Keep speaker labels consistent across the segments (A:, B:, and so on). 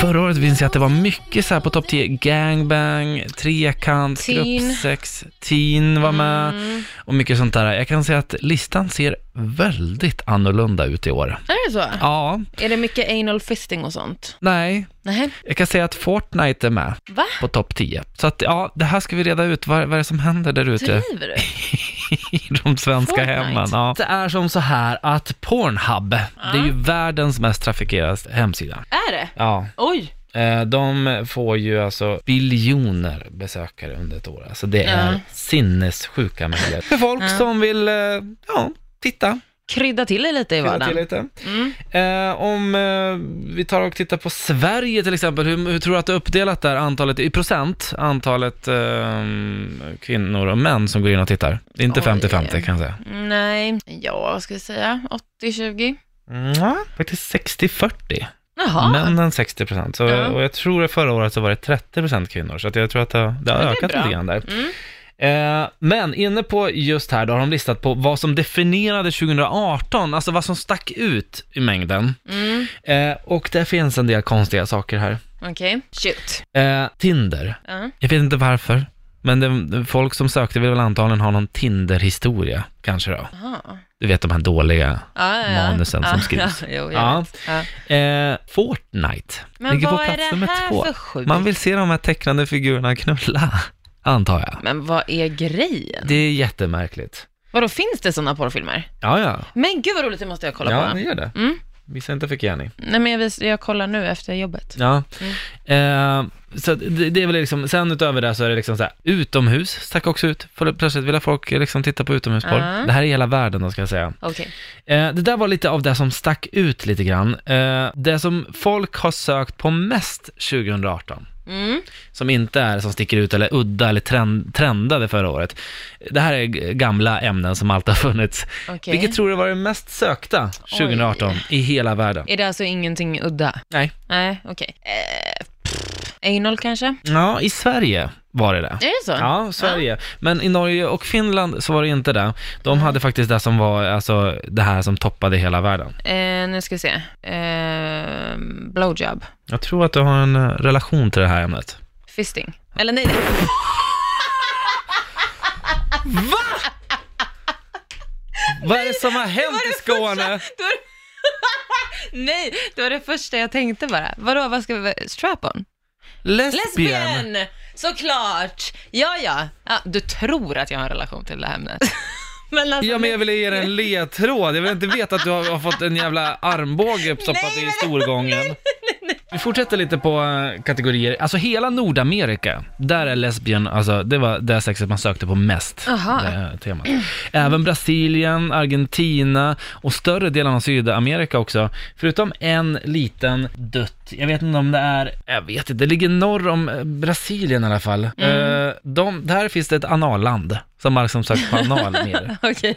A: Förra året minns jag att det var mycket så här på topp 10, gangbang, trekant,
B: Teen. Mm.
A: gruppsex, teen var med och mycket sånt där. Jag kan säga att listan ser väldigt annorlunda ut i år.
B: Är det så?
A: Ja,
B: Är det mycket anal fisting och sånt?
A: nej,
B: Nej.
A: jag kan säga att Fortnite är med
B: Va?
A: på topp 10. Så att ja, det här ska vi reda ut. Vad, vad är det som händer där ute?
B: Driver du?
A: i de svenska
B: Fortnite.
A: hemmen. Ja. Det är som så här att Pornhub, det är ju världens mest trafikerade hemsida.
B: Är det?
A: Ja,
B: Oj!
A: eh, de får ju alltså biljoner besökare under ett år. Alltså det är
B: Ja.
A: sinnessjuka mängder. För folk som vill, eh, ja, titta,
B: Krydda till dig lite i
A: titta till
B: vardagen.
A: lite.
B: Mm.
A: Eh, om eh, vi tar och tittar på Sverige till exempel, hur, hur tror du att det är uppdelat där antalet i procent, antalet eh, kvinnor och män som går in och tittar? Det är inte
B: Oj.
A: 50-50 kan jag säga.
B: Mm, Nej, ja vad ska jag säga? 80-20?
A: Mm, Ja, faktiskt 60-40.
B: Jaha.
A: Männen 60 procent.
B: Ja.
A: Och jag tror att förra året så var det 30 procent kvinnor, så att jag tror att det, har- det har
B: det är
A: ökat
B: bra.
A: lite grann där.
B: Mm.
A: Eh, men inne på just här, då har de listat på vad som definierade 2018, alltså vad som stack ut i mängden.
B: Mm.
A: Eh, och det finns en del konstiga saker här.
B: Okej. Shoot.
A: Eh, Tinder,
B: Ja.
A: jag vet inte varför, men det, folk som sökte vill väl antagligen ha någon Tinder-historia, kanske då.
B: Aha.
A: Du vet de här dåliga.
B: Ja, ja, ja.
A: Manusen
B: ja,
A: som skrivs.
B: Ja, jo, jag
A: Ja.
B: vet. Ja.
A: Eh, Fortnite.
B: Men
A: Ligger på
B: vad är
A: plats
B: det
A: nummer
B: här
A: två.
B: för sjukt?
A: Man vill se de här tecknade figurerna knulla, antar jag.
B: Men vad är grejen?
A: Det är jättemärkligt.
B: Vadå, finns det sådana porrfilmer?
A: Ja, ja.
B: Men gud vad roligt, det måste jag kolla
A: ja,
B: på.
A: ni gör det.
B: Mm.
A: Vissa inte fick ni.
B: Nej men jag, vis- jag kollar nu efter jobbet.
A: Ja. Eh, så det, det är väl liksom, sen utöver det så är det liksom så här, utomhus stack också ut. För plötsligt ville folk liksom titta på utomhusporr.
B: Ja.
A: Det här är hela världen då, ska jag säga.
B: Okej.
A: Eh, det där var lite av det som stack ut lite grann. Eh, det som folk har sökt på mest 2018.
B: Mm.
A: som inte är som sticker ut eller udda eller trend, trendade förra året. Det här är g- gamla ämnen som alltid har funnits.
B: Okej.
A: Vilket tror du var det mest sökta 2018 i hela världen?
B: Är det alltså ingenting udda?
A: Nej.
B: Nej, okej. Eh, pff, anal kanske?
A: Ja, i Sverige var det det.
B: Är det så?
A: Ja, Sverige. Men i Norge och Finland så var det inte det. De hade faktiskt det som var, alltså det här som toppade hela världen.
B: Eh, nu ska vi se. Eh, blowjob.
A: Jag tror att du har en eh, relation till det här ämnet.
B: Fisting. Eller nej, nej.
A: Vad är det som har hänt i Skåne?
B: Det var- nej, det var det första jag tänkte bara. Vadå, vad ska vi... Strap-on?
A: Lesbien!
B: Lesbien! Såklart! Ja, ja, ja. Du tror att jag har en relation till det här ämnet. Men alltså,
A: Ja men jag ville ge dig en ledtråd, jag vill inte veta att du har, har fått en jävla armbåge uppstoppad
B: Nej,
A: i storgången. Vi fortsätter lite på eh, kategorier, alltså hela Nordamerika, där är lesbien, alltså det var det sexet man sökte på mest,
B: Aha.
A: det här temat. Även Brasilien, Argentina och större delen av Sydamerika också, förutom en liten dutt, jag vet inte om det är, jag vet inte, det ligger norr om eh, Brasilien i alla fall.
B: Mm.
A: Eh, De, där finns det ett analland, som har som sökt på anal mer.
B: Okej.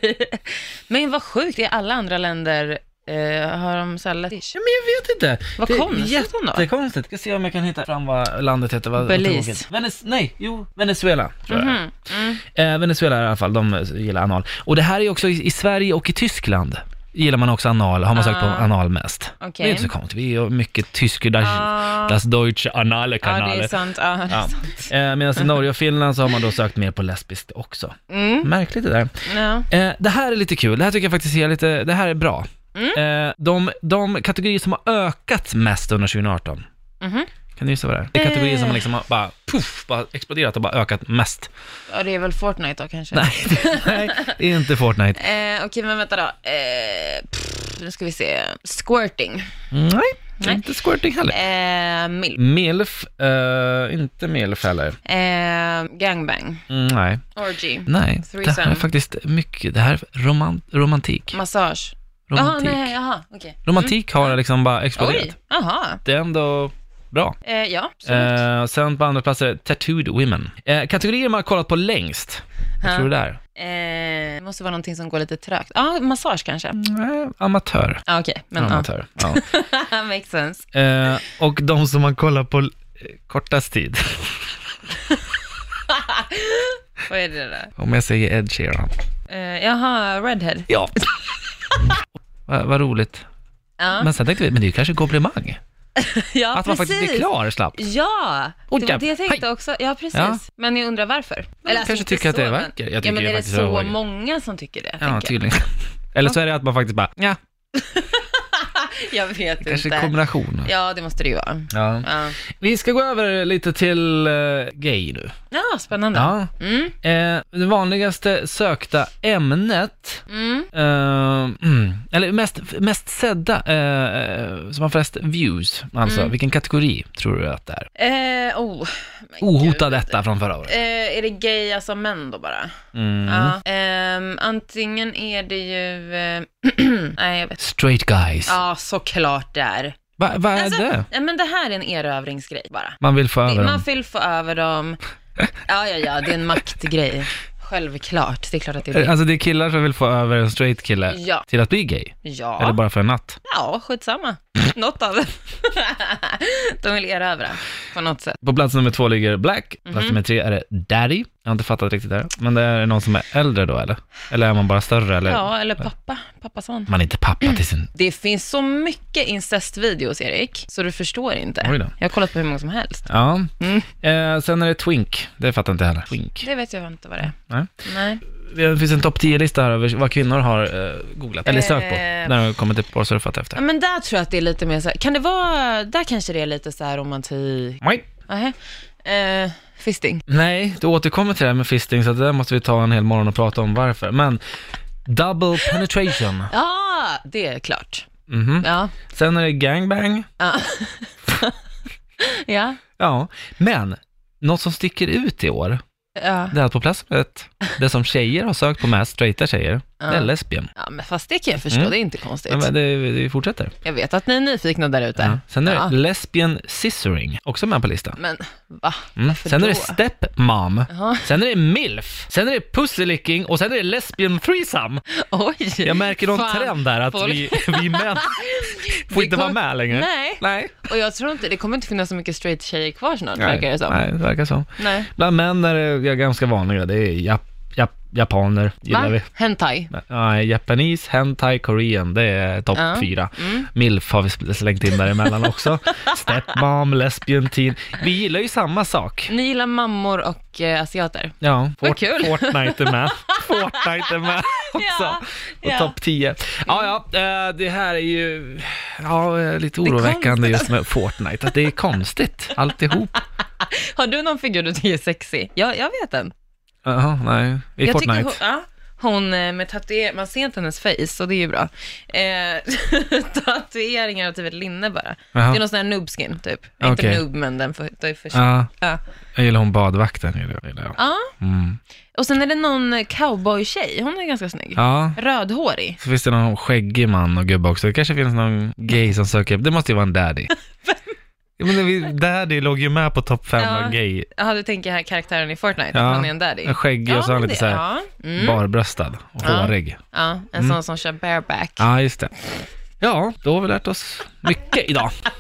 B: Men vad sjukt, i alla andra länder eh, har de så här lätt-
A: Ja, men jag vet inte.
B: Vad
A: det är
B: konstigt ändå.
A: Jättekonstigt. Ska se om jag kan hitta fram vad landet heter. Vad, vad
B: Belize.
A: tråkigt. Venez- nej, jo, Venezuela tror jag det är.
B: Mhm. Mm.
A: eh, Venezuela i alla fall, de eh, gillar anal. Och det här är också i, i Sverige och i Tyskland gillar man också anal, har man sökt på
B: Ah.
A: anal mest. Det är
B: Okej.
A: inte så konstigt, vi är ju mycket tysker, das,
B: Ah.
A: das deutsche anale
B: Ja, det är
A: kanale.
B: sant. Ja, det är
A: Ja.
B: sant.
A: Eh, Medan i Norge och Finland så har man då sökt mer på lesbiskt också.
B: Mm.
A: Märkligt det där.
B: Ja.
A: Eh, det här är lite kul, det här tycker jag faktiskt är lite, det här är bra.
B: Mm.
A: Eh, de, de kategorier som har ökat mest under 2018,
B: Mhm.
A: kan du gissa vad det är? Det är kategorier som
B: Eh.
A: liksom har bara, puff, bara exploderat och bara ökat mest.
B: ja, det är väl Fortnite då kanske?
A: Nej, det- nej, det är inte Fortnite.
B: Eh, Okej, men vänta då. Eh, pff, nu ska vi se. Squirting.
A: Nej,
B: Nej.
A: inte squirting heller.
B: Eh, milf.
A: Milf, eh, inte milf heller.
B: Eh, gangbang.
A: Mm, nej,
B: Orgy.
A: nej. Det här är
B: Threesome.
A: faktiskt mycket, det här är romant, romantik.
B: Massage. Jaha,
A: romantik.
B: nej, jaha, okej.
A: romantik har liksom bara exploderat.
B: Oj, jaha.
A: Det är ändå bra.
B: Eh, ja, absolut.
A: Eh, sen på andra plats är det Tattooed Women. Eh, kategorier man har kollat på längst. Vad
B: Ja.
A: tror du där?
B: Eh, det måste vara någonting som går lite trögt. Ja, ah, massage kanske. Ja,
A: Nej, Eh, amatör.
B: ah, okej. Men ja.
A: amatör. Mm. Ja.
B: Makes sense.
A: Eh, och de som man kollar på l- kortast tid.
B: Vad är det där?
A: Om jag säger Ed Sheeran.
B: Eh, jaha, redhead.
A: Ja. Vad vad roligt.
B: Ja.
A: Men sen tänkte vi, men det är ju kanske en komplimang.
B: ja,
A: Att man faktiskt blir klar slappt.
B: Ja,
A: Och
B: det var
A: jävlar,
B: det jag tänkte
A: hej.
B: också. Ja, precis.
A: Ja.
B: Men jag undrar varför. alltså,
A: kanske
B: inte
A: tycker att det är
B: så, men-
A: vackert. Jag
B: Ja,
A: tycker
B: men
A: det är
B: är det
A: faktiskt
B: så
A: vackert.
B: många som tycker det?
A: Ja, typ.
B: tänker Typ jag?
A: tydligen. Eller så är det att man faktiskt bara, ja,
B: jag vet
A: kanske
B: inte.
A: kombination.
B: Ja, det måste det ju vara.
A: Ja.
B: Ja,
A: Vi ska gå över lite till eh, gay nu.
B: ja spännande.
A: Ja.
B: Mm,
A: Eh, det vanligaste sökta ämnet,
B: mm.
A: eh, mm, eller mest, mest sedda, eh, eh, som har flest views, alltså
B: Mm.
A: vilken kategori tror du att det är?
B: Eh, oh, men
A: Ohotad
B: gud.
A: detta från förra året.
B: Eh, är det gay, alltså män då bara?
A: Mm.
B: Ja. Ehm, antingen är det ju... Eh, nej, jag vet
A: Straight guys.
B: Ja, såklart det är.
A: Va- Vad är
B: Alltså,
A: det?
B: ja, men det här är en erövringsgrej bara.
A: Man vill få över
B: Man
A: dem.
B: vill få över dem. Ja, ja, ja, det är en maktgrej. Självklart, det är klart att det är det.
A: Alltså det är killar som vill få över en straight kille
B: Ja.
A: till att bli gay. Eller
B: Ja,
A: bara för en natt.
B: ja skitsamma. Något av det. De vill erövra på något sätt.
A: På plats nummer två ligger Black,
B: Mhm.
A: plats nummer tre är det Daddy. Jag har inte fattat riktigt det här. Men det är någon som är äldre då eller? Eller är man bara större eller?
B: Ja, eller pappa, pappason.
A: Man är inte pappa till sin...
B: Det finns så mycket incestvideos, Erik, så du förstår inte.
A: Oj då.
B: Jag har kollat på hur många som helst.
A: Ja.
B: Mm.
A: Eh, sen är det Twink, det fattar jag inte heller. Twink.
B: Det vet jag inte vad det är.
A: Nej.
B: Nej.
A: Det finns en topp 10-lista här över vad kvinnor har eh, googlat, eller sökt på,
B: Eh.
A: när de kommer till porrsurfat
B: Ja,
A: efter.
B: men där tror jag att det är lite mer så här, kan det vara, där kanske det är lite så här romantik
A: Nej.
B: Nähä. Eh, fisting.
A: Nej, du återkommer till det här med fisting, så det där måste vi ta en hel morgon och prata om varför. Men, double penetration.
B: Ja, det är klart.
A: Mhm.
B: Ja.
A: Sen är det gangbang.
B: Ja. ja.
A: Ja, men något som sticker ut i år,
B: ja.
A: det är att på plats nummer ett, det som tjejer har sökt på mest, straighta tjejer, det är
B: Ja.
A: lesbien.
B: Ja, men fast det kan jag förstå,
A: Mm.
B: det är inte konstigt.
A: Ja, men det, det fortsätter.
B: Jag vet att ni är nyfikna där ute.
A: Ja. Sen är det
B: Ja.
A: lesbian scissoring, också med på listan.
B: Men va?
A: Mm.
B: Varför
A: Sen är det
B: då?
A: stepmom,
B: Jaha.
A: sen är det milf, sen är det pussylicking och sen är det lesbian threesome.
B: Oj!
A: Jag märker någon
B: Fan.
A: trend där att
B: folk-
A: vi, vi män får
B: Det
A: inte vara
B: kom-
A: med längre.
B: Nej,
A: Nej.
B: och jag tror inte, det kommer inte finnas så mycket straight tjejer kvar snart, verkar det som. Nej.
A: Nej, det verkar så. Bland män är det ganska vanliga, det är jap, jap, japaner, gillar
B: Va?
A: vi.
B: Hentai?
A: Nej, Japanese, Hentai, Korean, det är topp
B: Ja. Mm.
A: fyra. Milf har vi slängt in däremellan också. Stepmom, lesbian teen. Vi gillar ju samma sak.
B: Ni gillar mammor och eh, asiater?
A: Ja,
B: Vad
A: Fort,
B: kul.
A: Fortnite är med. Fortnite är med också.
B: Ja,
A: Och
B: ja.
A: topp 10. Ja, ja, eh, det här är ju ja, eh, lite oroväckande just med Fortnite, att det är konstigt alltihop.
B: Har du någon figur du tycker är sexig? Ja, jag vet en.
A: Jaha, nej. I
B: jag
A: Fortnite.
B: Tycker hon, ja, hon eh, med tatueringar, man ser inte hennes face, så det är ju bra. Eh, tatueringar och typ ett linne bara.
A: Jaha.
B: Det är någon sån här noobskin typ.
A: Okej.
B: Inte noob, men den för, den för
A: Ja,
B: ja.
A: jag gillar hon badvakten. Gillar jag, gillar jag.
B: ja.
A: Mm.
B: Och sen är det någon cowboy-tjej, hon är ganska snygg.
A: Ja,
B: Rödhårig.
A: så finns det någon skäggig man och gubbe också. Det kanske finns någon gay som söker upp. Det måste ju vara en daddy. Ja, men det, vi- daddy låg ju med på topp 5
B: Ja.
A: av gay.
B: Jaha, du tänker här karaktären i Fortnite,
A: Ja.
B: att han är en daddy.
A: En skäggig och så han
B: men
A: lite
B: det-
A: så här Mm.
B: Ja, mm,
A: barbröstad och
B: Ja.
A: hårig.
B: ja en sån som kör bareback.
A: Ja, just det. Ja, då har vi lärt oss mycket idag.